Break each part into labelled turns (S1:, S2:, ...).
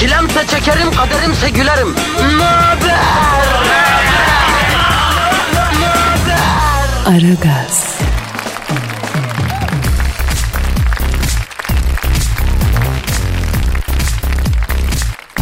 S1: Çilemse çekerim, kaderimse gülerim. Möber!
S2: Aragaz,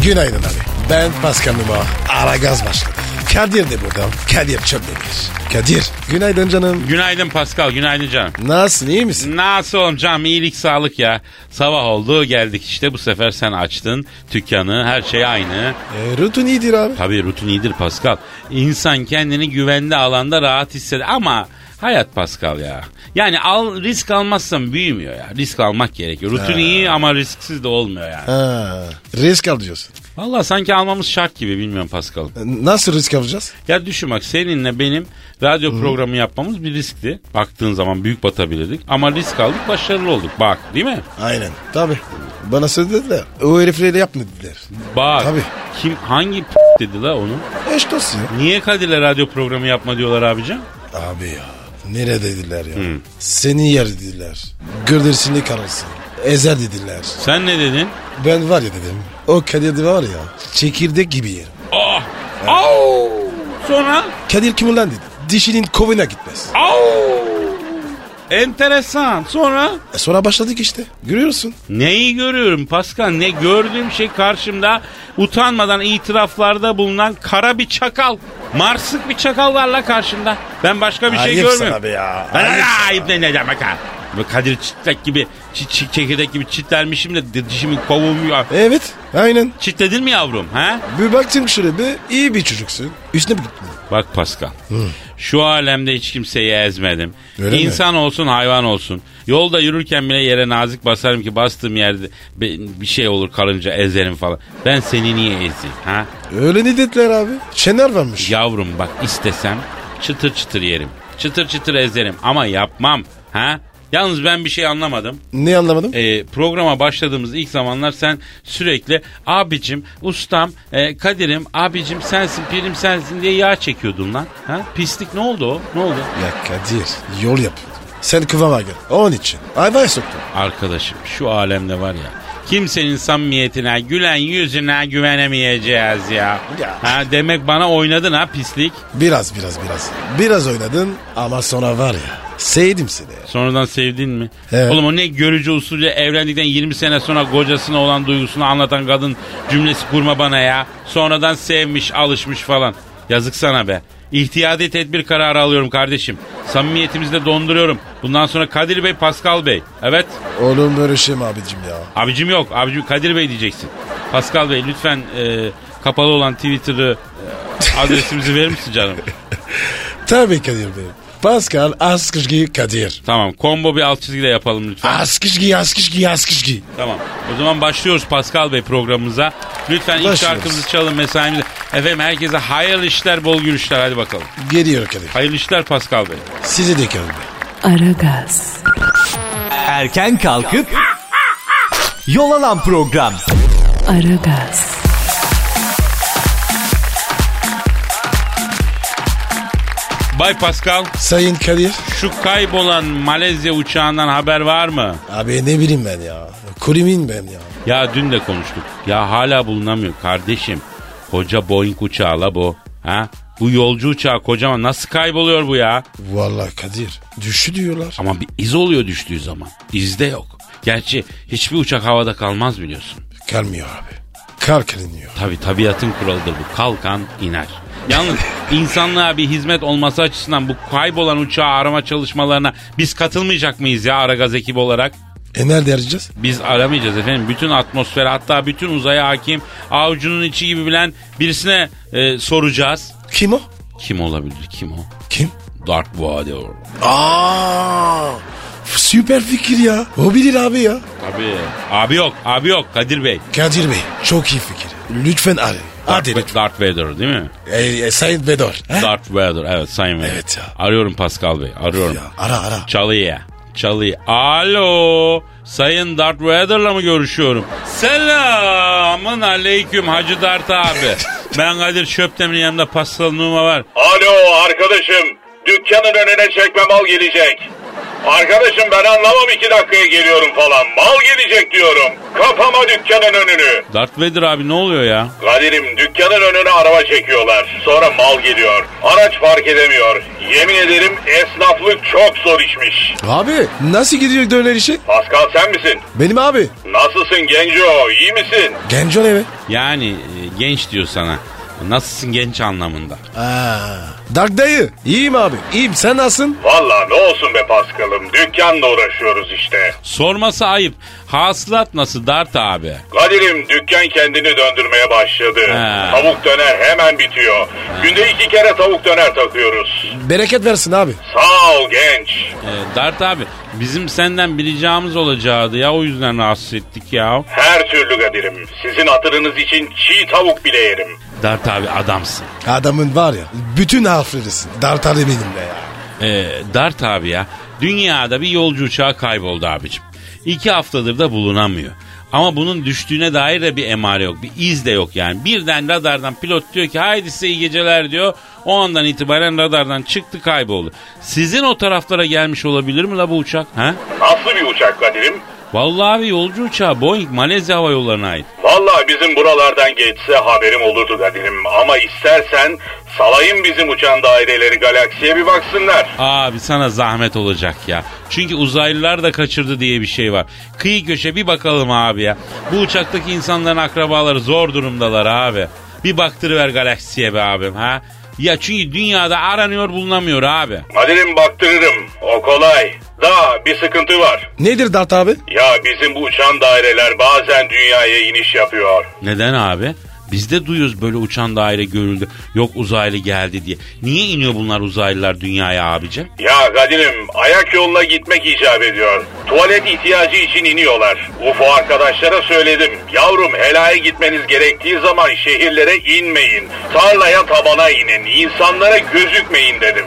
S3: Günaydın abi. Ben Pascal Numa. Ara gaz başladı. Kadir de burada. Kadir Çöpdemir. Kadir. Günaydın canım.
S4: Günaydın Pascal, günaydın canım.
S3: Nasılsın iyi misin?
S4: Nasıl oğlum canım iyilik sağlık ya. Sabah oldu geldik işte bu sefer sen açtın dükkanı her şey aynı.
S3: E, rutin iyidir abi.
S4: Tabii rutin iyidir Pascal. İnsan kendini güvenli alanda rahat hisseder ama hayat Pascal ya. Yani al risk almazsan büyümüyor ya. Risk almak gerekiyor. Rutin iyi ama risksiz de olmuyor yani.
S3: Ha, risk alıyorsun.
S4: Valla sanki almamız şart gibi bilmiyorum Pascal.
S3: Nasıl risk alacağız?
S4: Ya düşün bak seninle benim radyo programı yapmamız bir riskti. Baktığın zaman büyük batabilirdik ama risk aldık başarılı olduk bak değil mi?
S3: Aynen. Tabii. Bana söylediler. O herifleri yapma dediler.
S4: Bak.
S3: Tabii.
S4: Kim hangi p- dedi la onu?
S3: Eş dost ya.
S4: Niye Kadir'le radyo programı yapma diyorlar abicim?
S3: Abi ya. Nere dediler ya? Seni yer dediler. Gırdırsını karılsın. Ezer dediler.
S4: Sen ne dedin?
S3: Ben var ya dedim. O Kadir de var ya. Çekirdek gibi yerim.
S4: Ah! Au! Sonra
S3: Kadir kim ulan dedi. Dişinin kovuna gitmez.
S4: au! Enteresan. Sonra
S3: E sonra başladık işte. Görüyorsun.
S4: neyi görüyorum Pascal? Ne gördüğüm şey karşımda utanmadan itiraflarda bulunan kara bir çakal. Marsık bir çakallarla karşımda. Ben başka bir şey
S3: Ayıp
S4: görmüyorum.
S3: sana be ya.
S4: Ben
S3: Ayıp sana.
S4: ayıp ne, ne demek ha? Böyle Kadir çitlek gibi, çi- çi- çekirdek gibi çitlenmişim de dişimin kovulmuyor.
S3: Evet. Aynen.
S4: Çitledin mi yavrum ha?
S3: Bir baktın şöyle bir iyi bir çocuksun. Üstüne bir gittin.
S4: Bak Pascal. Şu alemde hiç kimseyi ezmedim.
S3: Öyle mi?
S4: İnsan olsun hayvan olsun. Yolda yürürken bile yere nazik basarım ki bastığım yerde be- bir şey olur karınca ezerim falan. Ben seni niye ezeyim ha?
S3: Öyle ne dediler abi? Şener varmış.
S4: Yavrum bak istesem çıtır çıtır yerim. Çıtır çıtır ezerim ama yapmam ha? Yalnız ben bir şey anlamadım.
S3: Ne anlamadım?
S4: Ee, programa başladığımız ilk zamanlar sen sürekli abicim, ustam, e, Kadir'im, abicim sensin, pirim sensin diye yağ çekiyordun lan. Ha? Pislik ne oldu o? Ne oldu?
S3: Ya Kadir yol yap. Sen kıvama gel. Onun için. Ayvaya soktun.
S4: Arkadaşım şu alemde var ya kimsenin samimiyetine, gülen yüzüne güvenemeyeceğiz ya.
S3: Ya.
S4: Ha, demek bana oynadın ha pislik.
S3: Biraz biraz biraz. Biraz oynadın ama sonra var ya. Sevdim seni.
S4: Sonradan sevdin mi?
S3: Evet.
S4: Oğlum o ne görücü usulü evlendikten 20 sene sonra kocasına olan duygusunu anlatan kadın cümlesi kurma bana ya. Sonradan sevmiş, alışmış falan. Yazık sana be. İhtiyadi tedbir kararı alıyorum kardeşim. Samimiyetimizi de donduruyorum. Bundan sonra Kadir Bey, Pascal Bey. Evet.
S3: Oğlum böyle şey mi abicim ya?
S4: Abicim yok. Abicim Kadir Bey diyeceksin. Pascal Bey lütfen e, kapalı olan Twitter'ı e, adresimizi verir misin canım?
S3: Tabii Kadir Bey. Pascal Askışgi Kadir.
S4: Tamam. Combo bir alt çizgi de yapalım lütfen.
S3: Askışgi Askışgi Askışgi.
S4: Tamam. O zaman başlıyoruz Pascal Bey programımıza. Lütfen ilk
S3: Başlıyoruz.
S4: şarkımızı çalın mesaimizi. Efendim herkese hayırlı işler, bol gülüşler. Hadi bakalım.
S3: Geliyor Kadir.
S4: Hayırlı işler Pascal Bey.
S3: Size de Kadir Bey.
S2: Aragaz,
S5: Erken kalkıp yol alan program.
S2: Aragaz,
S4: Bay Pascal,
S3: Sayın Kadir.
S4: şu kaybolan Malezya uçağından haber var mı?
S3: Abi ne bileyim ben ya. Kurimin ben ya.
S4: Ya dün de konuştuk. Ya hala bulunamıyor kardeşim. Koca Boeing uçağı la bu. Ha? Bu yolcu uçağı kocaman nasıl kayboluyor bu ya?
S3: Vallahi Kadir. Düşü diyorlar.
S4: Ama bir iz oluyor düştüğü zaman. İzde yok. Gerçi hiçbir uçak havada kalmaz biliyorsun.
S3: Kalmıyor abi. Kar kalınıyor.
S4: Tabi tabiatın kuralıdır bu. Kalkan iner. Yalnız insanlığa bir hizmet olması açısından bu kaybolan uçağı arama çalışmalarına biz katılmayacak mıyız ya Aragaz ekibi olarak?
S3: E nerede arayacağız?
S4: Biz aramayacağız efendim. Bütün atmosfere hatta bütün uzaya hakim avucunun içi gibi bilen birisine e, soracağız.
S3: Kim o?
S4: Kim olabilir kim o?
S3: Kim?
S4: Dark Vador.
S3: Aa! Süper fikir ya. O bilir abi ya.
S4: Abi. Abi yok abi yok Kadir Bey.
S3: Kadir Bey çok iyi fikir. Lütfen arayın. Hadi
S4: Darth,
S3: lütfen.
S4: Darth Vader değil mi?
S3: E, e, Sayın Bedor. ha?
S4: Darth Vader evet Sayın Vader.
S3: Evet ya.
S4: Arıyorum Pascal Bey arıyorum.
S3: Ya, ara ara.
S4: Çalıya. Çalıya. Alo. Sayın Darth Vader'la mı görüşüyorum? Selamın aleyküm Hacı Dart abi. ben Kadir Çöptemir'in yanımda pastalı numara var.
S6: Alo arkadaşım. Dükkanın önüne çekme mal gelecek. Arkadaşım ben anlamam iki dakikaya geliyorum falan. Mal gelecek diyorum. Kapama dükkanın önünü.
S4: Darth Vader abi ne oluyor ya?
S6: Kadir'im dükkanın önüne araba çekiyorlar. Sonra mal geliyor. Araç fark edemiyor. Yemin ederim esnaflık çok zor işmiş.
S3: Abi nasıl gidiyor döner işi?
S6: Pascal sen misin?
S3: Benim abi.
S6: Nasılsın Genco? İyi misin?
S3: Genco ne be?
S4: Yani e, genç diyor sana. Nasılsın genç anlamında.
S3: Dark dayı. İyiyim abi. İyiyim sen nasılsın?
S6: Valla ne olsun be Pascal'ım. Dükkanla uğraşıyoruz işte.
S4: Sorması ayıp. Hasılat nasıl Dart abi?
S6: Kadir'im dükkan kendini döndürmeye başladı.
S4: He.
S6: Tavuk döner hemen bitiyor. Günde iki kere tavuk döner takıyoruz.
S3: Bereket versin abi.
S6: Sağ ol genç.
S4: Ee, Dart abi bizim senden bir ricamız olacaktı ya o yüzden rahatsız ettik ya.
S6: Her türlü Kadir'im. Sizin hatırınız için çiğ tavuk bile yerim.
S4: Dart abi adamsın.
S3: Adamın var ya bütün harflerisin. Dark abi benim be ya.
S4: Ee, Dart abi ya dünyada bir yolcu uçağı kayboldu abicim. İki haftadır da bulunamıyor. Ama bunun düştüğüne dair de bir emare yok. Bir iz de yok yani. Birden radardan pilot diyor ki haydi size iyi geceler diyor. O andan itibaren radardan çıktı kayboldu. Sizin o taraflara gelmiş olabilir mi la bu uçak? Ha?
S6: Nasıl bir uçak Kadir'im?
S4: Vallahi abi yolcu uçağı Boeing Malezya Hava Yolları'na ait.
S6: Valla bizim buralardan geçse haberim olurdu Kadir'im. Ama istersen salayım bizim uçan daireleri galaksiye bir baksınlar.
S4: Abi sana zahmet olacak ya. Çünkü uzaylılar da kaçırdı diye bir şey var. Kıyı köşe bir bakalım abi ya. Bu uçaktaki insanların akrabaları zor durumdalar abi. Bir baktırıver galaksiye be abim ha. Ya çünkü dünyada aranıyor bulunamıyor abi.
S6: Kadir'im baktırırım. O kolay. Da bir sıkıntı var.
S3: Nedir Dart abi?
S6: Ya bizim bu uçan daireler bazen dünyaya iniş yapıyor.
S4: Neden abi? Biz de duyuyoruz böyle uçan daire görüldü. Yok uzaylı geldi diye. Niye iniyor bunlar uzaylılar dünyaya abicim?
S6: Ya Kadir'im ayak yoluna gitmek icap ediyor. Tuvalet ihtiyacı için iniyorlar. UFO arkadaşlara söyledim. Yavrum helaya gitmeniz gerektiği zaman şehirlere inmeyin. Tarlaya tabana inin. İnsanlara gözükmeyin dedim.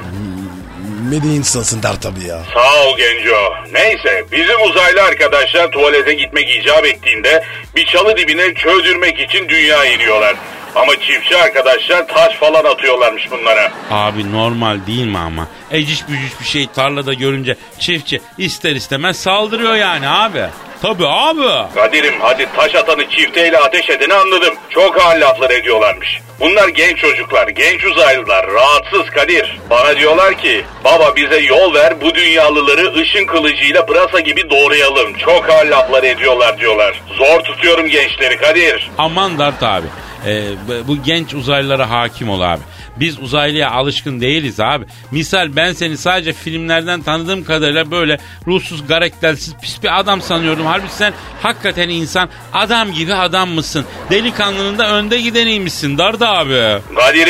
S3: Medi insansın Dart abi ya.
S6: Sağ ol Genco. Neyse bizim uzaylı arkadaşlar tuvalete gitmek icap ettiğinde bir çalı dibine çöldürmek için dünya iniyorlar. Ama çiftçi arkadaşlar taş falan atıyorlarmış bunlara.
S4: Abi normal değil mi ama? Eciş bücüş bir şey tarlada görünce çiftçi ister istemez saldırıyor yani abi. Tabii abi.
S6: Kadir'im hadi taş atanı çifteyle ateş edeni anladım. Çok ağır laflar ediyorlarmış. Bunlar genç çocuklar, genç uzaylılar, rahatsız Kadir. Bana diyorlar ki baba bize yol ver bu dünyalıları ışın kılıcıyla pırasa gibi doğrayalım. Çok ağır laflar ediyorlar diyorlar. Zor tutuyorum gençleri Kadir.
S4: Aman Dart abi. Ee, bu- bu genç uzaylılara hakim ol abi. Biz uzaylıya alışkın değiliz abi. Misal ben seni sadece filmlerden tanıdığım kadarıyla böyle ruhsuz, garektelsiz, pis bir adam sanıyordum. Halbuki sen hakikaten insan, adam gibi adam mısın? Delikanlının da önde gideniymişsin Dart abi.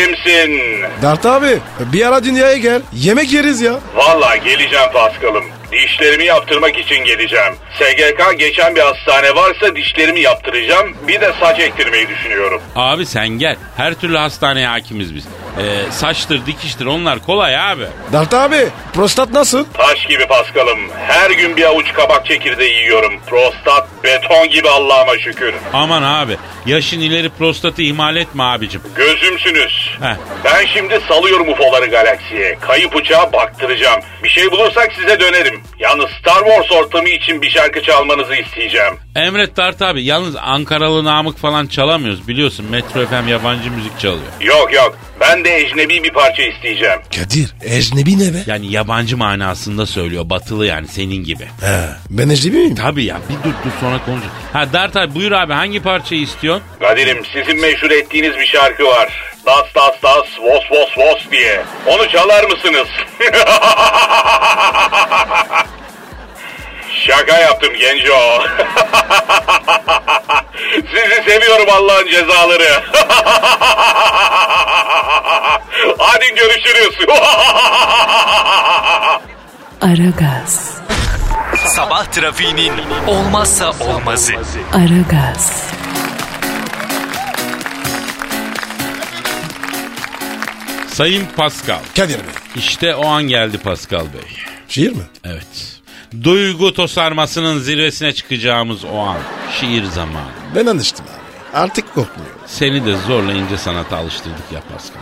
S6: Kadir'imsin.
S3: Dart abi bir ara dünyaya gel. Yemek yeriz ya.
S6: Valla geleceğim Paskal'ım. Dişlerimi yaptırmak için geleceğim. SGK geçen bir hastane varsa dişlerimi yaptıracağım. Bir de saç ektirmeyi düşünüyorum.
S4: Abi sen gel. Her türlü hastaneye hakimiz biz. Ee, saçtır, dikiştir onlar kolay abi.
S3: Dart abi prostat nasıl?
S6: Taş gibi Paskal'ım. Her gün bir avuç kabak çekirdeği yiyorum. Prostat beton gibi Allah'ıma şükür.
S4: Aman abi yaşın ileri prostatı ihmal etme abicim.
S6: Gözümsünüz.
S4: Heh.
S6: Ben şimdi salıyorum UFO'ları galaksiye. Kayıp uçağa baktıracağım. Bir şey bulursak size dönerim. Yalnız Star Wars ortamı için bir şarkı çalmanızı isteyeceğim.
S4: Emret Dart abi yalnız Ankaralı Namık falan çalamıyoruz biliyorsun. Metro FM yabancı müzik çalıyor.
S6: Yok yok. Ben de ecnebi bir parça isteyeceğim.
S3: Kadir ecnebi ne be?
S4: Yani yabancı manasında söylüyor batılı yani senin gibi.
S3: He, ben ecnebi miyim?
S4: Tabii ya bir dur dur sonra konuşuruz. Ha Dart abi buyur abi hangi parçayı istiyorsun?
S6: Kadir'im sizin meşhur ettiğiniz bir şarkı var. Das das das vos vos vos diye. Onu çalar mısınız? Şaka yaptım Genco. Sizi seviyorum Allah'ın cezaları. Hadi görüşürüz.
S2: Aragaz,
S5: Sabah trafiğinin olmazsa olmazı.
S2: Aragaz,
S4: Sayın Pascal.
S3: Kadir Bey.
S4: İşte o an geldi Pascal Bey.
S3: Şiir mi?
S4: Evet. Duygu tosarmasının zirvesine çıkacağımız o an. Şiir zamanı.
S3: Ben alıştım abi. Artık korkmuyorum.
S4: Seni de zorla ince sanata alıştırdık ya Pascal.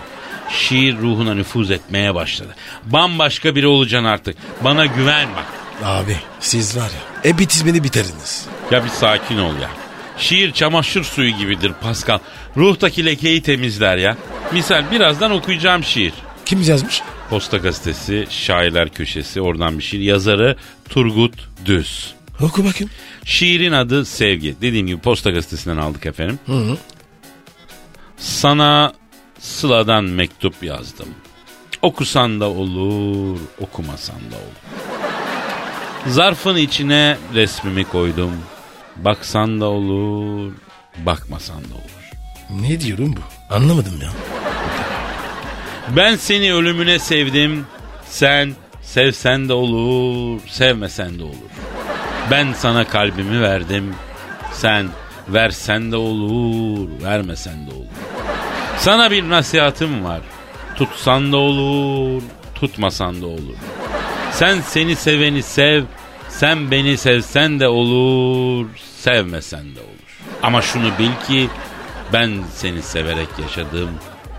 S4: Şiir ruhuna nüfuz etmeye başladı. Bambaşka biri olacaksın artık. Bana güven bak.
S3: Abi siz var ya. E bitiz beni bitiriniz.
S4: Ya bir sakin ol ya. Şiir çamaşır suyu gibidir Pascal. Ruhtaki lekeyi temizler ya. Misal birazdan okuyacağım şiir.
S3: Kim yazmış?
S4: Posta gazetesi, şairler köşesi oradan bir şiir. Yazarı Turgut Düz.
S3: Oku bakayım.
S4: Şiirin adı Sevgi. Dediğim gibi Posta Gazetesi'nden aldık efendim. Sana Sıla'dan mektup yazdım. Okusan da olur, okumasan da olur. Zarfın içine resmimi koydum. Baksan da olur, bakmasan da olur.
S3: Ne diyorum bu? Anlamadım ya.
S4: Ben seni ölümüne sevdim. Sen sevsen de olur, sevmesen de olur. Ben sana kalbimi verdim. Sen versen de olur, vermesen de olur. Sana bir nasihatim var. Tutsan da olur, tutmasan da olur. Sen seni seveni sev, sen beni sevsen de olur, sevmesen de olur. Ama şunu bil ki ben seni severek yaşadım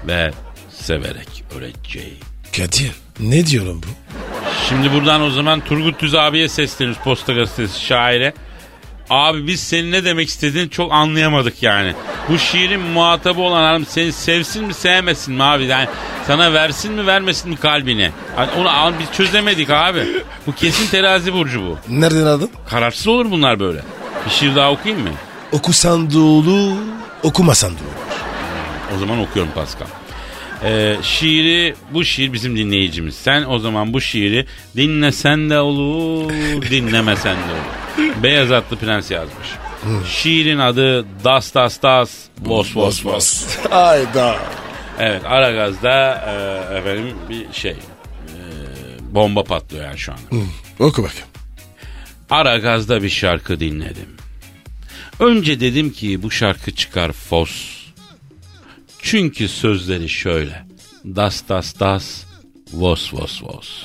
S4: ve severek öleceğim.
S3: Kadir ne diyorum bu?
S4: Şimdi buradan o zaman Turgut Düz abiye sesleniyoruz Posta Gazetesi şaire. Abi biz senin ne demek istediğini çok anlayamadık yani. Bu şiirin muhatabı olan adam seni sevsin mi sevmesin mi abi? Yani sana versin mi vermesin mi kalbini? Hani onu al- biz çözemedik abi. Bu kesin terazi burcu bu.
S3: Nereden aldın?
S4: Kararsız olur bunlar böyle. Bir şiir daha okuyayım mı?
S3: Okusan da olur, okumasan da olur.
S4: O zaman okuyorum Pascal. Ee, şiiri bu şiir bizim dinleyicimiz. Sen o zaman bu şiiri dinlesen de olur, dinlemesen de olur. Beyaz atlı prens yazmış. Şiirin adı Das Das Das Vos Hmm. Vos Vos.
S3: Hayda.
S4: Evet Aragaz'da e, efendim bir şey e, bomba patlıyor yani şu anda.
S3: Oku bakayım.
S4: Aragaz'da bir şarkı dinledim. Önce dedim ki bu şarkı çıkar fos. Çünkü sözleri şöyle. Das das das vos vos vos.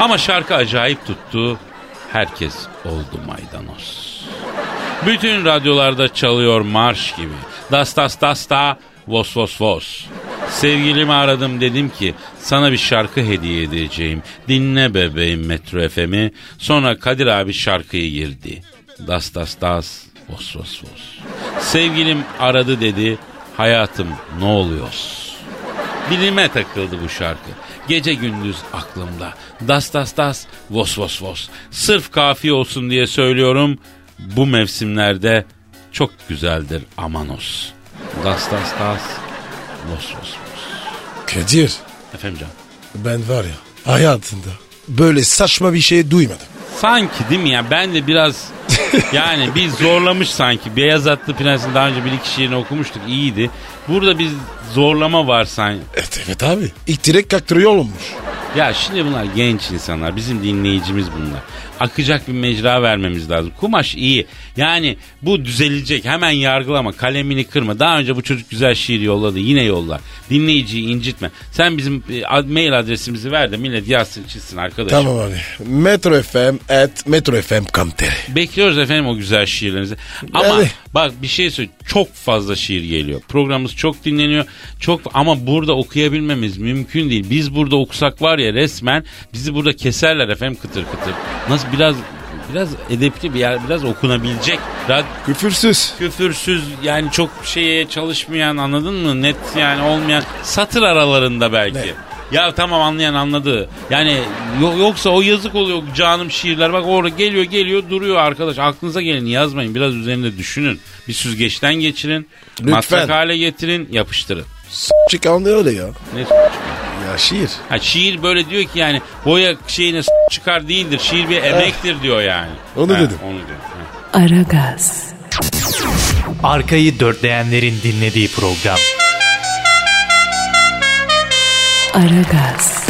S4: Ama şarkı acayip tuttu. Herkes oldu maydanoz. Bütün radyolarda çalıyor marş gibi. Das das das da vos vos vos. Sevgilimi aradım dedim ki sana bir şarkı hediye edeceğim. Dinle bebeğim Metro FM'i. Sonra Kadir abi şarkıyı girdi. Das das das vos vos vos. Sevgilim aradı dedi. Hayatım ne oluyoruz? Dilime takıldı bu şarkı. Gece gündüz aklımda. Das das das, vos vos vos. Sırf kafi olsun diye söylüyorum. Bu mevsimlerde çok güzeldir amanos. Das das das, vos vos vos.
S3: Kadir
S4: Efendim canım.
S3: ben var ya hayatında böyle saçma bir şey duymadım.
S4: Sanki değil mi ya ben de biraz yani bir zorlamış sanki. Beyaz Atlı Prens'in daha önce bir iki şiirini okumuştuk iyiydi. Burada bir zorlama var sanki.
S3: Evet evet abi. İlk direkt kaktırıyor olmuş.
S4: Ya şimdi bunlar genç insanlar. Bizim dinleyicimiz bunlar. Akacak bir mecra vermemiz lazım. Kumaş iyi. Yani bu düzelecek. Hemen yargılama. Kalemini kırma. Daha önce bu çocuk güzel şiir yolladı. Yine yollar. Dinleyiciyi incitme. Sen bizim e, ad- mail adresimizi ver de millet yazsın çizsin arkadaşım.
S3: Tamam abi. Metro FM at Metro FM
S4: Bekliyoruz efendim o güzel şiirlerinizi. Ama
S3: Yani.
S4: bak bir şey söyleyeyim. Çok fazla şiir geliyor. Programımız çok dinleniyor. Çok ama burada okuyabilmemiz mümkün değil. Biz burada okusak var ya resmen bizi burada keserler efendim kıtır kıtır. Nasıl biraz biraz edepli bir yer, biraz okunabilecek. Rad
S3: Küfürsüz.
S4: küfürsüz yani çok şeye çalışmayan anladın mı? Net yani olmayan satır aralarında belki. Ya tamam anlayan anladı. Yani yo- yoksa o yazık oluyor canım şiirler. Bak orada geliyor geliyor duruyor arkadaş. Aklınıza geleni yazmayın. Biraz üzerinde düşünün. Bir süzgeçten geçirin.
S3: Lütfen.
S4: Matrak hale getirin. Yapıştırın.
S3: Çıkan öyle ya.
S4: Ne s-
S3: Ya şiir.
S4: ha, şiir böyle diyor ki yani boya şeyine s- çıkar değildir. Şiir bir emektir diyor yani.
S3: Eh. Onu
S4: Ha,
S3: dedim.
S4: Onu diyor. Ha.
S2: Aragaz,
S5: Arkayı dörtleyenlerin dinlediği program.
S2: Aragaz,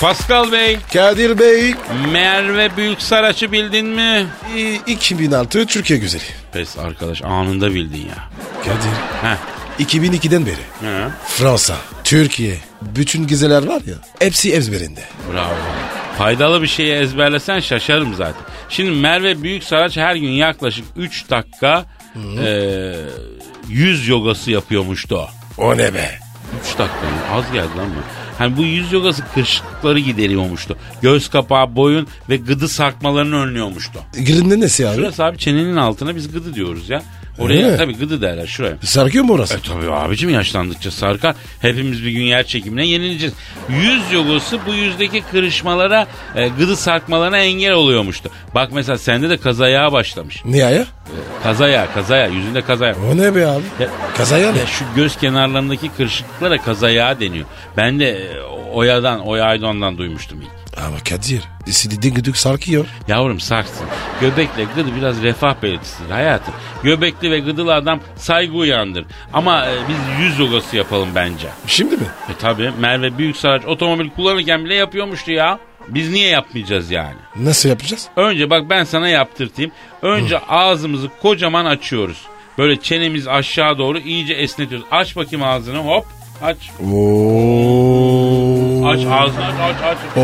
S4: Pascal Bey,
S3: Kadir Bey
S4: Merve Büyüksaraç'ı bildin mi?
S3: i- 2006 Türkiye güzeli.
S4: Pes arkadaş anında bildin ya.
S3: Kadir.
S4: Heh.
S3: 2002'den beri.
S4: Hı.
S3: Fransa, Türkiye, bütün gezeler var ya hepsi ezberinde.
S4: Bravo. Faydalı bir şeyi ezberlesen şaşarım zaten. Şimdi Merve Büyük Saraç her gün yaklaşık 3 dakika eee yüz yogası yapıyormuştu o.
S3: O ne be?
S4: 3 dakika mı? az geldi lan mı? Hani bu yüz yogası kırışıklıkları gideriyormuştu. Göz kapağı, boyun ve gıdı sarkmalarını önlüyormuştu.
S3: Grinde nesi abi?
S4: Burası abi çenenin altına biz gıdı diyoruz ya. Oraya
S3: Öyle mi?
S4: tabii gıdı derler şuraya.
S3: Sarkıyor mu orası?
S4: E tabii abicim yaşlandıkça sarkar. Hepimiz bir gün yer çekimine yenileceğiz. Yüz yogası bu yüzdeki kırışmalara, e, gıdı sarkmalarına engel oluyormuştu. Bak mesela sende de kazaya başlamış.
S3: Niye ya?
S4: Kazaya, kazaya, yüzünde kazaya.
S3: O ne be abi?
S4: Ya-
S3: Kazaya ne?
S4: Ya şu göz kenarlarındaki kırışıklıklara kazayağı deniyor. Ben de e, Oya'dan, Oya Aydon'dan duymuştum ilk.
S3: Ama Kadir, istediğin güdük sarkıyor.
S4: Yavrum sarsın. Göbekle gıdı biraz refah belirtisidir hayatım. Göbekli ve gıdılı adam saygı uyandır. Ama e, biz yüz yogası yapalım bence.
S3: Şimdi mi?
S4: E tabi Merve Büyüksaraç otomobil kullanırken bile yapıyormuştu ya. Biz niye yapmayacağız yani?
S3: Nasıl yapacağız?
S4: Önce bak ben sana yaptırtayım. Önce ağzımızı kocaman açıyoruz. Böyle çenemiz aşağı doğru iyice esnetiyoruz. Aç bakayım ağzını hop. Aç.
S3: Oo.
S4: Aç ağzını aç aç aç.
S3: Oo.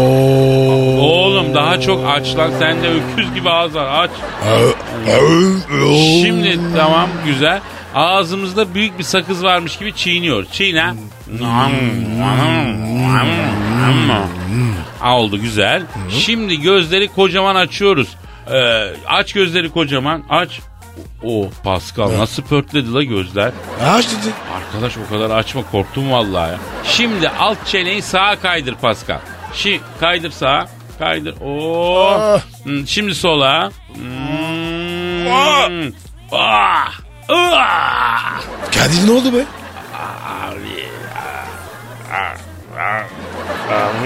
S4: Oğlum daha çok aç lan. Sende öküz gibi ağız var. Aç. Şimdi tamam güzel. Ağzımızda büyük bir sakız varmış gibi çiğniyor. Çiğne. Aa, Oldu güzel. Şimdi gözleri kocaman açıyoruz. Ee, aç gözleri kocaman aç. O Pascal nasıl pörtledi la gözler.
S3: Aç dedi.
S4: Arkadaş o kadar açma korktum vallahi ya. Şimdi alt çeneyi sağa kaydır Pascal. Şi kaydır sağa. Kaydır. Oo.
S3: Ah.
S4: Hmm, Şimdi sola. Hmm. Ah. Ah.
S3: Kadir ne oldu be?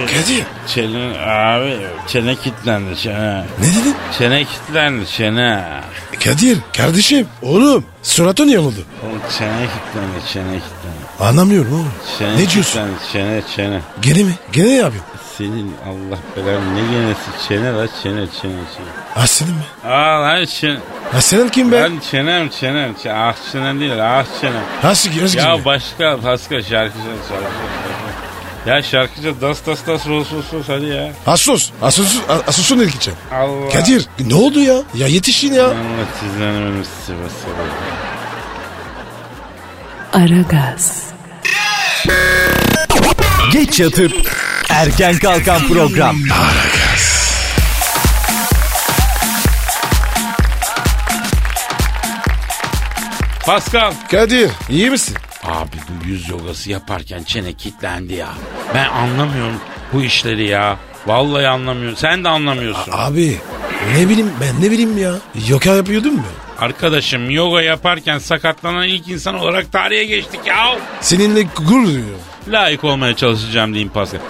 S3: Kadir
S4: Çene abi çene kilitlendi çene.
S3: ne dedin?
S4: Çene kilitlendi çene.
S3: Kadir kardeşim oğlum suratın yanıldı.
S4: Oğlum çene kilitlendi çene kilitlendi.
S3: Anlamıyorum oğlum.
S4: Çene
S3: ne diyorsun?
S4: kilitlendi, Çene çene.
S3: Gene mi? Gene ne yapıyorsun?
S4: Senin Allah belanı ne genesi çene la çene çene çene.
S3: Aslanım mı?
S4: Aa lan çene.
S3: Aslanım kim be?
S4: Ben çenem çenem. Ç- ah çenem değil ah çenem.
S3: Nasıl giriyoruz
S4: Ya
S3: gibi?
S4: başka başka şarkıcı şarkıcı. Ya şarkıcı das das das ros ros ros hadi ya.
S3: Asus. Asus. Asus'un ilk için.
S4: Allah.
S3: Kadir ne oldu ya? Ya yetişin ya.
S4: Allah sizden ömür size basarım.
S2: Aragaz,
S5: Geç yatıp erken kalkan program.
S4: Pascal.
S3: Kadir iyi misin?
S4: Abi bu yüz yogası yaparken çene kilitlendi ya. Ben anlamıyorum bu işleri ya. Vallahi anlamıyorum. Sen de anlamıyorsun.
S3: Abi ne bileyim ben ne bileyim ya. Yoga yapıyordun mu?
S4: Arkadaşım yoga yaparken sakatlanan ilk insan olarak tarihe geçtik ya.
S3: Seninle gurur duyuyorum.
S4: Layık olmaya çalışacağım diyeyim Pascal.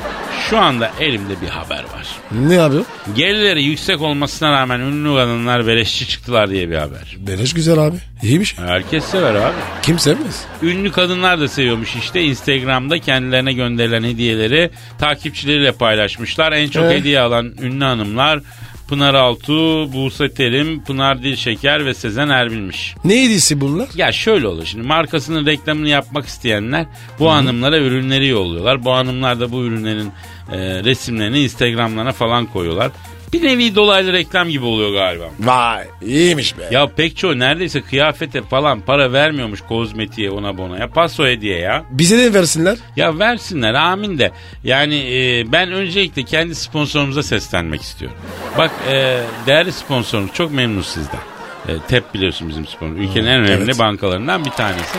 S4: Şu anda elimde bir haber var.
S3: Ne yapıyor?
S4: Gelirleri yüksek olmasına rağmen ünlü kadınlar beleşçi çıktılar diye bir haber.
S3: Beleş güzel abi. İyi bir şey.
S4: Herkes sever abi.
S3: Kim sevmez?
S4: Ünlü kadınlar da seviyormuş işte. Instagram'da kendilerine gönderilen hediyeleri takipçileriyle paylaşmışlar. En çok
S3: Ee?
S4: hediye alan ünlü hanımlar Pınar Altuğ, Buse Terim, Pınar Dilşeker ve Sezen Erbil'miş.
S3: Ne hediyesi bunlar?
S4: Ya şöyle olur şimdi markasının reklamını yapmak isteyenler bu hanımlara ürünleri yolluyorlar. Bu hanımlar da bu ürünlerin e, resimlerini Instagram'larına falan koyuyorlar. Bir nevi dolaylı reklam gibi oluyor galiba.
S3: Vay iyiymiş be.
S4: Ya pek çoğu neredeyse kıyafete falan para vermiyormuş kozmetiğe ona bona ya. Paso hediye ya.
S3: Bize ne versinler?
S4: Ya versinler amin de. Yani e, ben öncelikle kendi sponsorumuza seslenmek istiyorum. Bak e, değerli sponsorumuz çok memnun sizden. E, TEP biliyorsun bizim sponsorumuz. Ülkenin en önemli
S3: evet.
S4: bankalarından bir tanesi.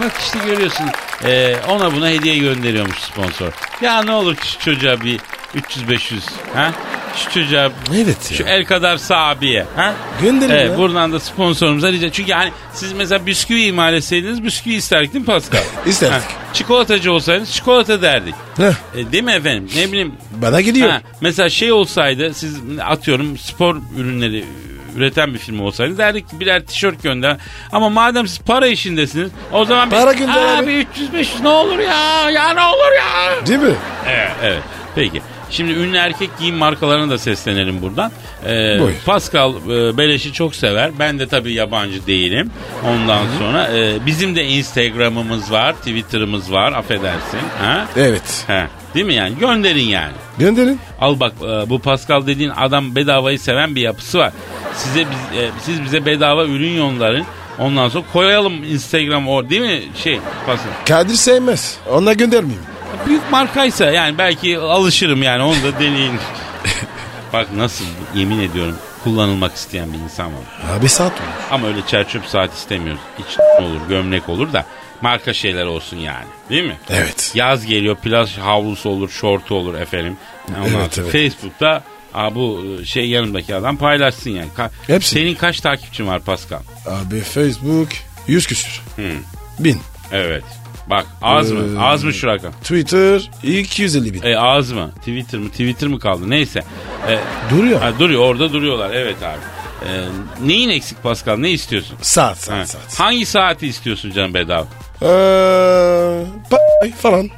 S4: Bak işte görüyorsun e, ona buna hediye gönderiyormuş sponsor. Ya ne olur şu çocuğa bir 300-500 ha? Şu çocuğa
S3: Evet ya.
S4: şu el kadar sabiye ha?
S3: Gönderin
S4: Evet,
S3: ya.
S4: buradan da sponsorumuza rica. Çünkü hani siz mesela bisküvi imal etseydiniz bisküvi isterdik değil mi Pascal?
S3: İsterdik.
S4: Ha, Çikolatacı olsaydınız çikolata derdik.
S3: Heh,
S4: E, değil mi efendim? Ne bileyim.
S3: bana gidiyor.
S4: Ha, mesela şey olsaydı siz atıyorum spor ürünleri üreten bir firma olsaydı derdik ki birer tişört gönder. Ama madem siz para işindesiniz o zaman
S3: Para gönder abi.
S4: abi 300 500 ne olur ya ya ne olur ya.
S3: Değil mi?
S4: Evet. evet. Peki. Şimdi ünlü erkek giyim markalarına da seslenelim buradan. Ee,
S3: Buyur.
S4: Pascal e, Beleş'i çok sever. Ben de tabii yabancı değilim. Ondan sonra e, bizim de Instagram'ımız var, Twitter'ımız var. Affedersin. Ha?
S3: Evet.
S4: Ha. Değil mi yani? Gönderin yani.
S3: Gönderin.
S4: Al bak e, bu Pascal dediğin adam bedavayı seven bir yapısı var. Size biz, e, siz bize bedava ürün yolların. Ondan sonra koyalım Instagram o değil mi şey Pascal?
S3: Kadir sevmez. Ona göndermeyeyim.
S4: Büyük markaysa yani belki alışırım yani onu da deneyin. Bak nasıl yemin ediyorum kullanılmak isteyen bir insan var.
S3: Abi saat olur.
S4: Ama öyle çerçöp saat istemiyoruz. İç olur gömlek olur da marka şeyler olsun yani değil mi?
S3: Evet.
S4: Yaz geliyor plaj havlusu olur şortu olur efendim. Ondan
S3: Evet,
S4: sonra
S3: evet.
S4: Facebook'ta aa, bu şey yanımdaki adam paylaşsın yani. Ka-
S3: Hepsi.
S4: Senin kaç takipçin var Pascal?
S3: Abi Facebook 100 küsür.
S4: Hmm.
S3: Bin.
S4: Evet. Bak az
S3: Ee.
S4: mı? Az mı şu rakam?
S3: Twitter 250 bin.
S4: E, az mı? Twitter mı? Twitter mı kaldı? Neyse. E,
S3: Duruyor.
S4: Ha, duruyor orada duruyorlar evet abi. Ee, neyin eksik Pascal ne istiyorsun?
S3: Saat saat
S4: Ha,
S3: saat.
S4: Hangi saati istiyorsun canım bedava?
S3: Ee, pa- falan.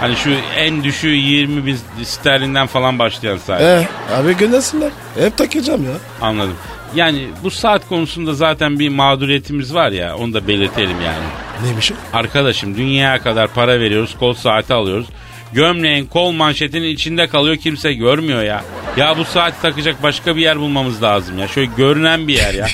S4: Hani şu en düşüğü 20 bin sterlinden falan başlayan saat.
S3: Ee, abi göndersinler. Hep takacağım ya.
S4: Anladım. Yani bu saat konusunda zaten bir mağduriyetimiz var ya onu da belirtelim yani.
S3: Neymiş o?
S4: Arkadaşım dünyaya kadar para veriyoruz kol saati alıyoruz. Gömleğin kol manşetinin içinde kalıyor kimse görmüyor ya. Ya bu saati takacak başka bir yer bulmamız lazım ya. Şöyle görünen bir yer ya.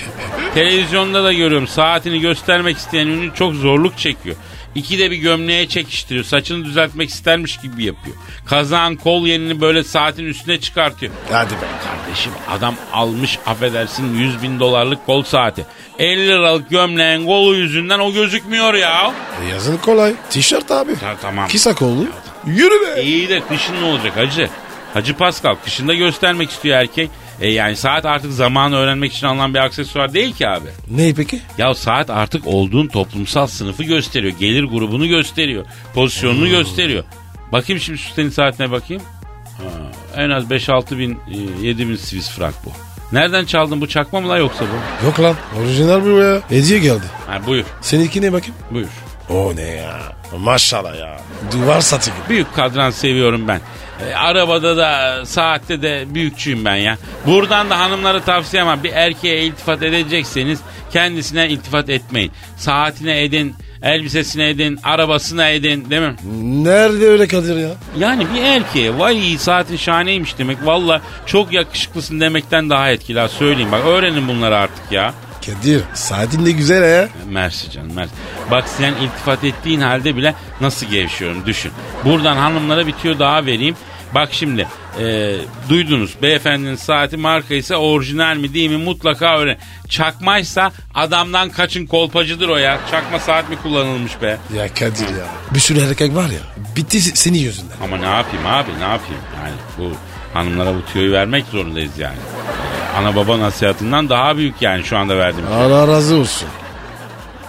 S4: Televizyonda da görüyorum saatini göstermek isteyen ünlü çok zorluk çekiyor. İkide bir gömleğe çekiştiriyor. Saçını düzeltmek istermiş gibi yapıyor. Kazağın kol yenini böyle saatin üstüne çıkartıyor.
S3: Hadi be.
S4: Kardeşim adam almış affedersin 100 bin dolarlık kol saati. 50 liralık gömleğin kolu yüzünden o gözükmüyor ya.
S3: E, Yazın kolay. Tişört abi.
S4: Ta- tamam.
S3: Kisa kollu. Yürü be.
S4: İyi de kışın ne olacak hacı? Hacı Pascal kışında göstermek istiyor erkek. E yani saat artık zamanı öğrenmek için alınan bir aksesuar değil ki abi.
S3: Ne peki?
S4: Ya saat artık olduğun toplumsal sınıfı gösteriyor. Gelir grubunu gösteriyor. Pozisyonunu gösteriyor. Bakayım şimdi şu senin saatine bakayım. Ha, en az 5-6 bin, 7 bin Swiss frank bu. Nereden çaldın bu çakma mı la yoksa bu?
S3: Yok lan. Orijinal bu ya. Hediye geldi.
S4: Ha, buyur,
S3: Seninki ne bakayım?
S4: buyur.
S3: O ne ya? Maşallah ya. Duvar satı gibi.
S4: Büyük kadran seviyorum ben. E, arabada da saatte de büyükçüyüm ben ya. Buradan da hanımlara tavsiyem var. Bir erkeğe iltifat edecekseniz kendisine iltifat etmeyin. Saatine edin, elbisesine edin, arabasına edin değil mi?
S3: Nerede öyle Kadir ya?
S4: Yani bir erkeğe vay saatin şahaneymiş demek. Valla çok yakışıklısın demekten daha etkili ha söyleyeyim. Bak öğrenin bunları artık ya.
S3: Kadir saatin ne güzel ya.
S4: Mersi canım mersi. Bak sen iltifat ettiğin halde bile nasıl gevşiyorum düşün. Buradan hanımlara bir tüyo daha vereyim. Bak şimdi e, duydunuz beyefendinin saati marka ise orijinal mi değil mi mutlaka öğren. Çakmaysa adamdan kaçın kolpacıdır o ya. Çakma saat mi kullanılmış be?
S3: Ya Kadir ya. Bir sürü erkek var ya. Bitti se- senin yüzünden.
S4: Ama ne yapayım abi ne yapayım? Yani bu hanımlara bu tüyoyu vermek zorundayız yani. E, ana baba nasihatından daha büyük yani şu anda verdiğim.
S3: Allah razı olsun.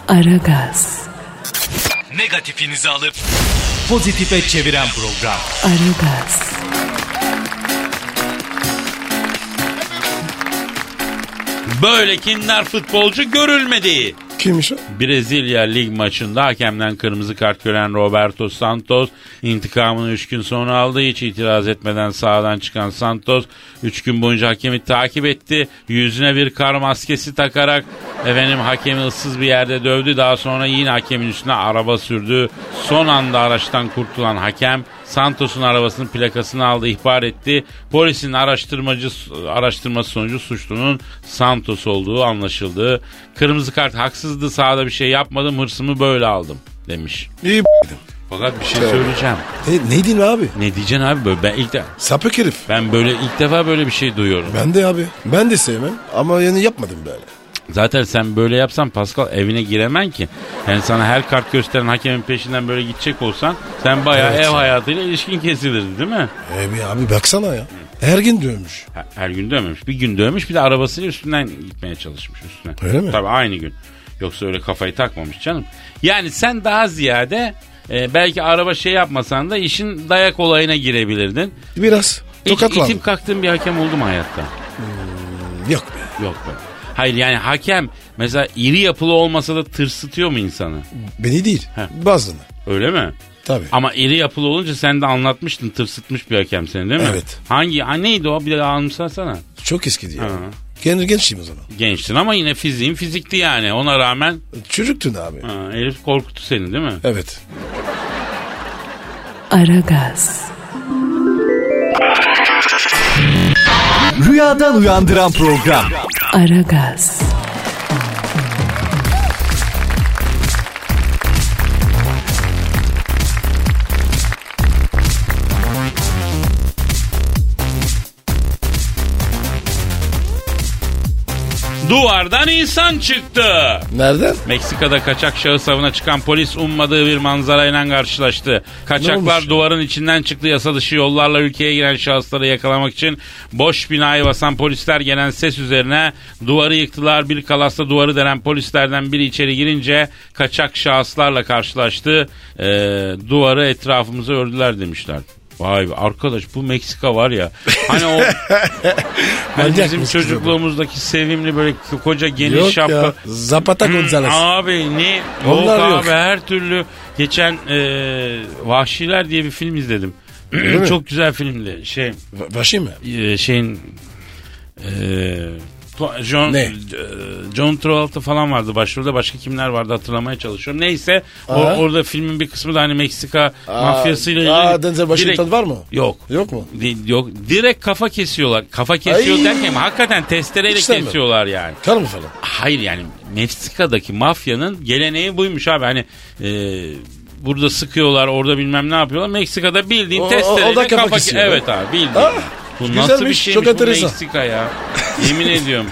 S2: Aragaz,
S5: Negatifinizi alıp pozitife çeviren program.
S2: Aragaz,
S4: Böyle kindar futbolcu görülmedi.
S3: Kimmiş o?
S4: Brezilya lig maçında hakemden kırmızı kart gören Roberto Santos intikamını 3 gün sonra aldı. Hiç itiraz etmeden sahadan çıkan Santos 3 gün boyunca hakemi takip etti. Yüzüne bir kar maskesi takarak efendim hakemi ıssız bir yerde dövdü. Daha sonra yine hakemin üstüne araba sürdü. Son anda araçtan kurtulan hakem Santos'un arabasının plakasını aldı, ihbar etti. Polisin araştırmacı araştırması sonucu suçlunun Santos olduğu anlaşıldı. Kırmızı kart haksızdı. Sahada bir şey yapmadım. Hırsımı böyle aldım demiş.
S3: İyi
S4: Fakat bir şey söyleyeceğim.
S3: ne, neydin abi?
S4: Ne diyeceksin abi böyle? Ben ilk de,
S3: Sapık herif.
S4: ben böyle ilk defa böyle bir şey duyuyorum.
S3: Ben de abi. Ben de sevmem. Ama yani yapmadım böyle.
S4: Zaten sen böyle yapsan Pascal evine giremen ki. Yani sana her kart gösteren hakemin peşinden böyle gidecek olsan sen bayağı
S3: Evet.
S4: ev hayatıyla ilişkin kesilirdi değil mi?
S3: E bir abi baksana ya. Her gün dövmüş.
S4: Ha- Her gün dövmemiş. Bir gün dövmüş bir de arabasıyla üstünden gitmeye çalışmış üstüne.
S3: Öyle mi?
S4: Tabii aynı gün. Yoksa öyle kafayı takmamış canım. Yani sen daha ziyade e, belki araba şey yapmasan da işin dayak olayına girebilirdin.
S3: Biraz
S4: Hiç
S3: tokatlandım.
S4: itip kalktığın bir hakem oldu mu hayatta?
S3: Yok be.
S4: Yok be. Hayır yani hakem mesela iri yapılı olmasa da tırsıtıyor mu insanı?
S3: Beni değil.
S4: He.
S3: Bazını.
S4: Öyle mi?
S3: Tabii.
S4: Ama iri yapılı olunca sen de anlatmıştın tırsıtmış bir hakem seni değil mi?
S3: Evet.
S4: Hangi ha, neydi o bir daha anımsarsana.
S3: Çok eski diyor. Genç gençtim o zaman.
S4: Gençtin ama yine fiziğin fizikti yani ona rağmen.
S3: Çocuktun abi.
S4: Ha, herif korkuttu seni değil mi?
S3: Evet.
S2: Aragaz,
S5: Rüyadan uyandıran program.
S2: Aragaz,
S4: Duvardan insan çıktı.
S3: Nereden?
S4: Meksika'da kaçak şahıs avına çıkan polis ummadığı bir manzarayla karşılaştı.
S3: Ne
S4: Kaçaklar
S3: olmuş?
S4: duvarın içinden çıktı yasa dışı yollarla ülkeye giren şahısları yakalamak için boş binayı basan polisler gelen ses üzerine duvarı yıktılar. Bir kalasla duvarı delen polislerden biri içeri girince kaçak şahıslarla karşılaştı. Ee, duvarı etrafımıza ördüler demişler. Vay be arkadaş bu Meksika var ya. Hani o hani
S3: Manyak
S4: bizim
S3: mısınız
S4: çocukluğumuzdaki sevimli böyle koca geniş
S3: Yok
S4: şapka.
S3: ya. Zapata
S4: Hmm,
S3: Gonzales.
S4: Abi ne?
S3: Onlar
S4: yok,
S3: yok.
S4: abi her türlü. Geçen e, Vahşiler diye bir film izledim.
S3: mi?
S4: Çok güzel filmdi. Şey
S3: Va- Vahşi mi?
S4: e, şeyin e, to- John,
S3: Ne?
S4: e, John Travolta falan vardı başrolde. Başka kimler vardı hatırlamaya çalışıyorum. Neyse o,
S3: Aha.
S4: orada filmin bir kısmı da hani Meksika mafyasıyla
S3: Aa,
S4: ilgili
S3: Denzel
S4: direkt-
S3: Washington var mı?
S4: Yok.
S3: Yok mu?
S4: Di- Yok direkt kafa kesiyorlar. Kafa kesiyor
S3: Ay.
S4: derken hakikaten testereyle
S3: İşte mi?
S4: kesiyorlar yani.
S3: Kar mı falan?
S4: Hayır yani Meksika'daki mafyanın geleneği buymuş abi. Hani e, burada sıkıyorlar orada bilmem ne yapıyorlar. Meksika'da bildiğin
S3: O- o-
S4: testereyle
S3: o da kafa
S4: kafa-
S3: kesiyor.
S4: Evet abi bildiğin.
S3: Ah,
S4: bu
S3: güzelmiş,
S4: nasıl bir şeymiş
S3: çok
S4: bu
S3: enteresan.
S4: Meksika ya. Yemin ediyorum.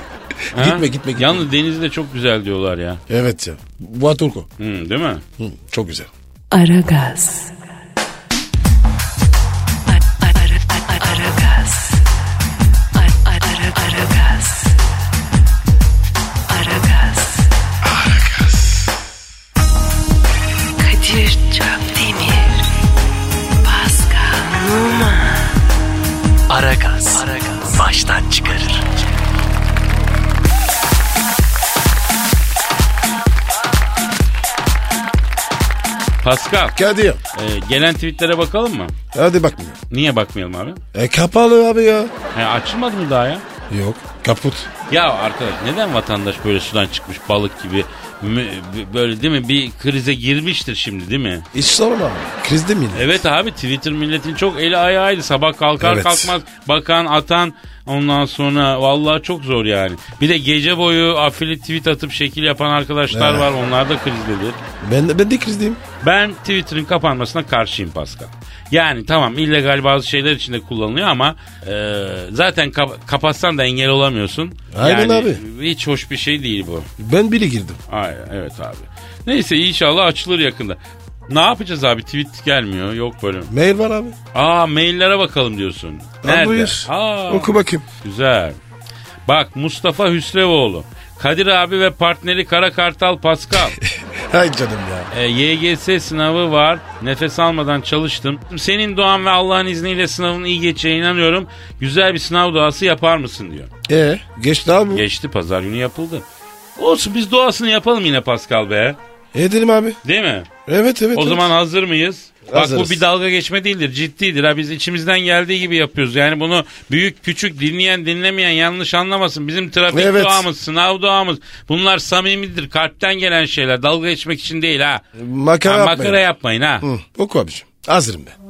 S4: Ha?
S3: Gitme, gitme, gitme.
S4: Yalnız denizi de çok güzel diyorlar ya.
S3: Evet ya. Bu Aturko.
S4: Hı, değil mi?
S3: Hı, çok güzel.
S2: Aragaz. Ara- ara- ara- Aragaz. Ara- ara- Aragaz. Aragaz. Kadir Çöpdemir. Pascal Numa.
S7: Aragaz. Baştan çıkarır.
S4: Pascal
S3: Kadir.
S4: e, gelen tweetlere bakalım mı?
S3: Hadi bakmıyor.
S4: Niye bakmayalım abi?
S3: E kapalı abi ya.
S4: He, açılmadı mı daha ya?
S3: Yok. Kaput.
S4: Ya arkadaş neden vatandaş böyle sudan çıkmış balık gibi mü- böyle değil mi bir krize girmiştir şimdi değil mi?
S3: Hiç sorma abi. Krizde miydi?
S4: Evet abi Twitter milletin çok eli ayağıydı. Sabah kalkar
S3: Evet.
S4: kalkmaz bakan atan ondan sonra vallahi çok zor yani. Bir de gece boyu afili tweet atıp şekil yapan arkadaşlar
S3: Evet.
S4: var onlar da krizdedir.
S3: Ben, ben de krizdeyim.
S4: Ben Twitter'ın kapanmasına karşıyım Pascal. Yani tamam illegal bazı şeyler içinde kullanılıyor ama e, zaten kap- kapatsan da engel olamıyorsun.
S3: Aynen
S4: yani,
S3: abi.
S4: Hiç hoş bir şey değil bu.
S3: Ben biri girdim.
S4: Ay, evet abi. Neyse inşallah açılır yakında. Ne yapacağız abi? Tweet gelmiyor. Yok böyle.
S3: Mail var abi.
S4: Aa maillere bakalım diyorsun.
S3: Al
S4: Nerede?
S3: buyur.
S4: Aa,
S3: Oku bakayım.
S4: Güzel. Bak Mustafa Hüsrevoğlu. Kadir abi ve partneri Kara Kartal Pascal.
S3: Hay canım ya.
S4: E, YGS sınavı var. Nefes almadan çalıştım. Senin duan ve Allah'ın izniyle sınavın iyi geçeceğine inanıyorum. Güzel bir sınav duası yapar mısın diyor.
S3: E geçti abi.
S4: Geçti pazar günü yapıldı. Olsun biz duasını yapalım yine Pascal be.
S3: Edelim E, abi.
S4: Değil mi?
S3: Evet evet.
S4: O
S3: evet.
S4: zaman hazır mıyız? Bak
S3: Hazırız.
S4: bu bir dalga geçme değildir. Ciddidir. Ha, biz içimizden geldiği gibi yapıyoruz. Yani bunu büyük küçük dinleyen dinlemeyen yanlış anlamasın. Bizim trafik
S3: Evet.
S4: duamız, sınav duamız bunlar samimidir. Kalpten gelen şeyler. Dalga geçmek için değil ha.
S3: makara
S4: Ha,
S3: yapmayın.
S4: makara yapmayın ha.
S3: Hı, oku abicim. Hazırım ben.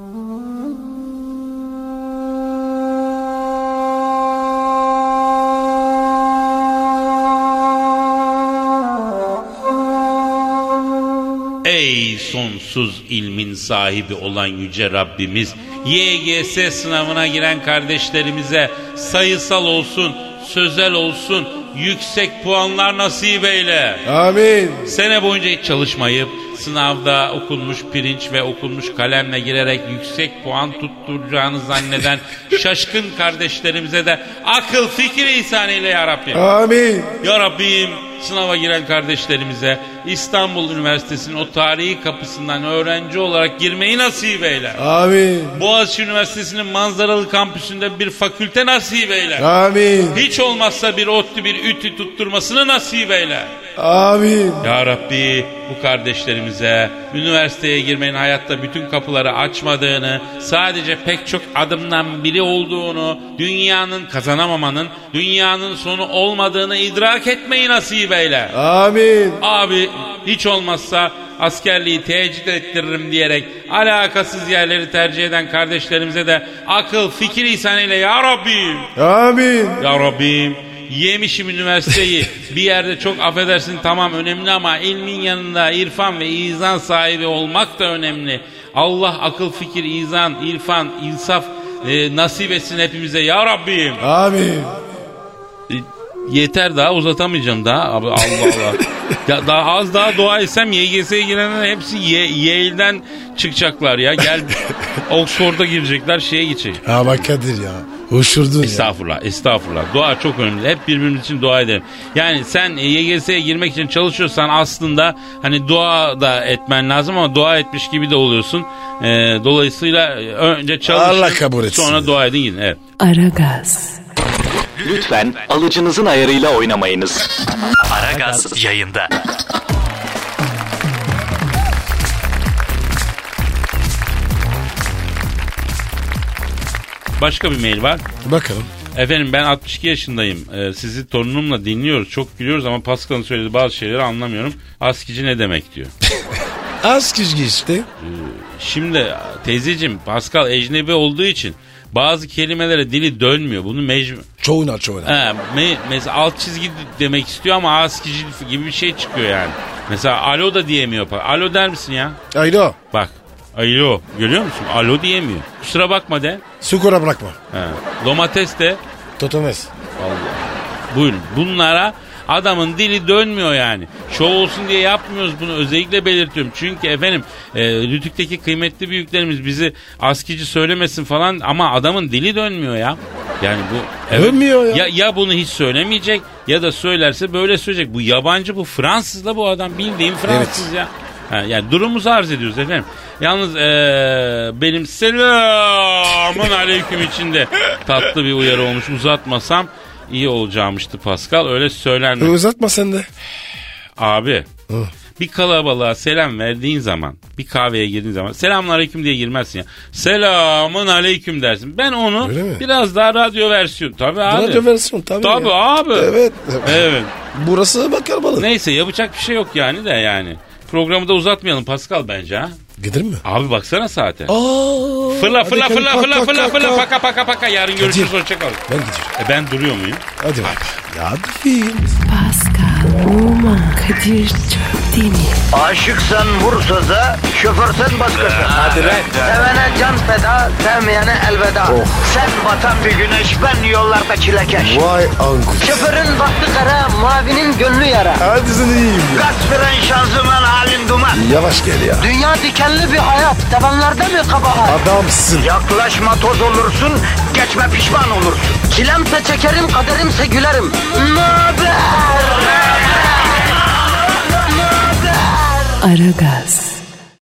S4: Ey sonsuz ilmin sahibi olan yüce Rabbimiz YGS sınavına giren kardeşlerimize sayısal olsun, sözel olsun yüksek puanlar nasip eyle.
S3: Amin.
S4: Sene boyunca hiç çalışmayıp sınavda okunmuş pirinç ve okunmuş kalemle girerek yüksek puan tutturacağını zanneden şaşkın kardeşlerimize de akıl fikir ihsanıyla ya Rabbim.
S3: Amin.
S4: Ya Rabbim sınava giren kardeşlerimize İstanbul Üniversitesi'nin o tarihi kapısından öğrenci olarak girmeyi nasip eyler.
S3: Abi.
S4: Boğaziçi Üniversitesi'nin manzaralı kampüsünde bir fakülte nasip eyler.
S3: Abi.
S4: Hiç olmazsa bir otlu bir ütü tutturmasını nasip eyler.
S3: Abi.
S4: Ya Rabbi bu kardeşlerimize üniversiteye girmenin hayatta bütün kapıları açmadığını, sadece pek çok adımdan biri olduğunu, dünyanın kazanamamanın, dünyanın sonu olmadığını idrak etmeyi nasip eyle.
S3: Amin.
S4: Abi hiç olmazsa askerliği tecrit ettiririm diyerek alakasız yerleri tercih eden kardeşlerimize de akıl fikir ihsanıyla ya Rabbim
S3: Amin.
S4: ya Rabbim yemişim üniversiteyi bir yerde çok affedersin tamam önemli ama ilmin yanında irfan ve izan sahibi olmak da önemli. Allah akıl fikir izan irfan insaf e, nasip etsin hepimize ya Rabbim.
S3: Amin.
S4: E, yeter daha uzatamayacağım daha abi Allah Allah. Ya daha az daha dua etsem YGS'ye girenler hepsi Ye- Yale'den çıkacaklar ya. Gel Oxford'a girecekler şeye geçecek.
S3: Ama Kadir ya. Uçurdun ya.
S4: Estağfurullah, estağfurullah. Dua çok önemli. Hep birbirimiz için dua edelim. Yani sen e, YGS'ye girmek için çalışıyorsan aslında hani dua da etmen lazım ama dua etmiş gibi de oluyorsun. E, dolayısıyla e, önce çalışın.
S3: Allah kabul etsin.
S4: Sonra dua edin gidin. Evet.
S2: Aragaz,
S5: Lütfen alıcınızın ayarıyla oynamayınız.
S7: Aragaz yayında.
S4: Başka bir mail var.
S3: Bakalım.
S4: Efendim ben 62 yaşındayım. Ee, sizi torunumla dinliyoruz. Çok gülüyoruz ama Pascal'ın söylediği bazı şeyleri anlamıyorum. Askici ne demek diyor.
S3: Az kişi işte.
S4: Şimdi teyzeciğim Pascal ecnebi olduğu için bazı kelimelere dili dönmüyor. Bunu mecbur...
S3: Çoğuna çoğuna.
S4: He, me- mesela alt çizgi demek istiyor ama askici gibi bir şey çıkıyor yani. Mesela alo da diyemiyor. pa- Alo der misin ya?
S3: Ayda.
S4: Bak. Alo. Görüyor musun? Alo diyemiyor. Kusura bakma de.
S3: Sukora bırakma.
S4: He. Domates de.
S3: Totomes.
S4: Buyurun. Bunlara adamın dili dönmüyor yani. Şov olsun diye yapmıyoruz bunu özellikle belirtiyorum. Çünkü efendim e, Rütük'teki kıymetli büyüklerimiz bizi askici söylemesin falan ama adamın dili dönmüyor ya. Yani bu
S3: Dönmüyor ya.
S4: ya. Ya bunu hiç söylemeyecek ya da söylerse böyle söyleyecek. Bu yabancı bu Fransız da bu adam bildiğin Fransız ya. Ha, yani durumumuzu arz ediyoruz efendim. Yalnız e, benim selamın aleyküm içinde tatlı bir uyarı olmuş. Uzatmasam iyi olacağımıştı Pascal. Öyle söylenme.
S3: Uzatma sen de.
S4: Abi
S3: Hı.
S4: bir kalabalığa selam verdiğin zaman bir kahveye girdiğin zaman selamun aleyküm diye girmezsin ya. Selamun aleyküm dersin. Ben onu
S3: Öyle mi?
S4: biraz daha radyo versiyon. Tabii abi.
S3: Radyo versiyon tabii.
S4: Tabii
S3: ya.
S4: abi.
S3: Evet.
S4: Evet.
S3: Burası bakar bana.
S4: Neyse yapacak bir şey yok yani de yani. Programı da uzatmayalım Pascal bence ha.
S3: Gidelim mi?
S4: Abi baksana saate.
S3: Aa,
S4: Fırla
S3: hadi
S4: fırla
S3: Kadir,
S4: fırla
S3: kalk,
S4: fırla
S3: kalk,
S4: fırla
S3: kalk,
S4: fırla
S3: kalk.
S4: paka paka paka yarın görüşürüz hoşçakalın.
S3: Ben gidiyorum.
S4: E ben duruyor muyum?
S3: Hadi bak. Ya film.
S2: Pascal, Oman, Kadir çok değil mi?
S1: Aşıksan vursa da, şoförsen başkasın. Hadi
S3: lan.
S1: Sevene can feda, sevmeyene elveda. Sen batan bir güneş, ben yollarda çilekeş.
S3: Vay anku.
S1: Şoförün baktı kara, mavinin gönlü yara.
S3: Hadi sen iyiyim ya.
S1: Kasperen şanzıman halin duman.
S3: Yavaş gel ya.
S1: Dünya dikenli bir hayat, sevenlerde mi kabahar?
S3: Adamsın.
S1: Yaklaşma toz olursun, geçme pişman olursun. Çilemse çekerim, kaderimse gülerim. Möber!
S2: Aragaz.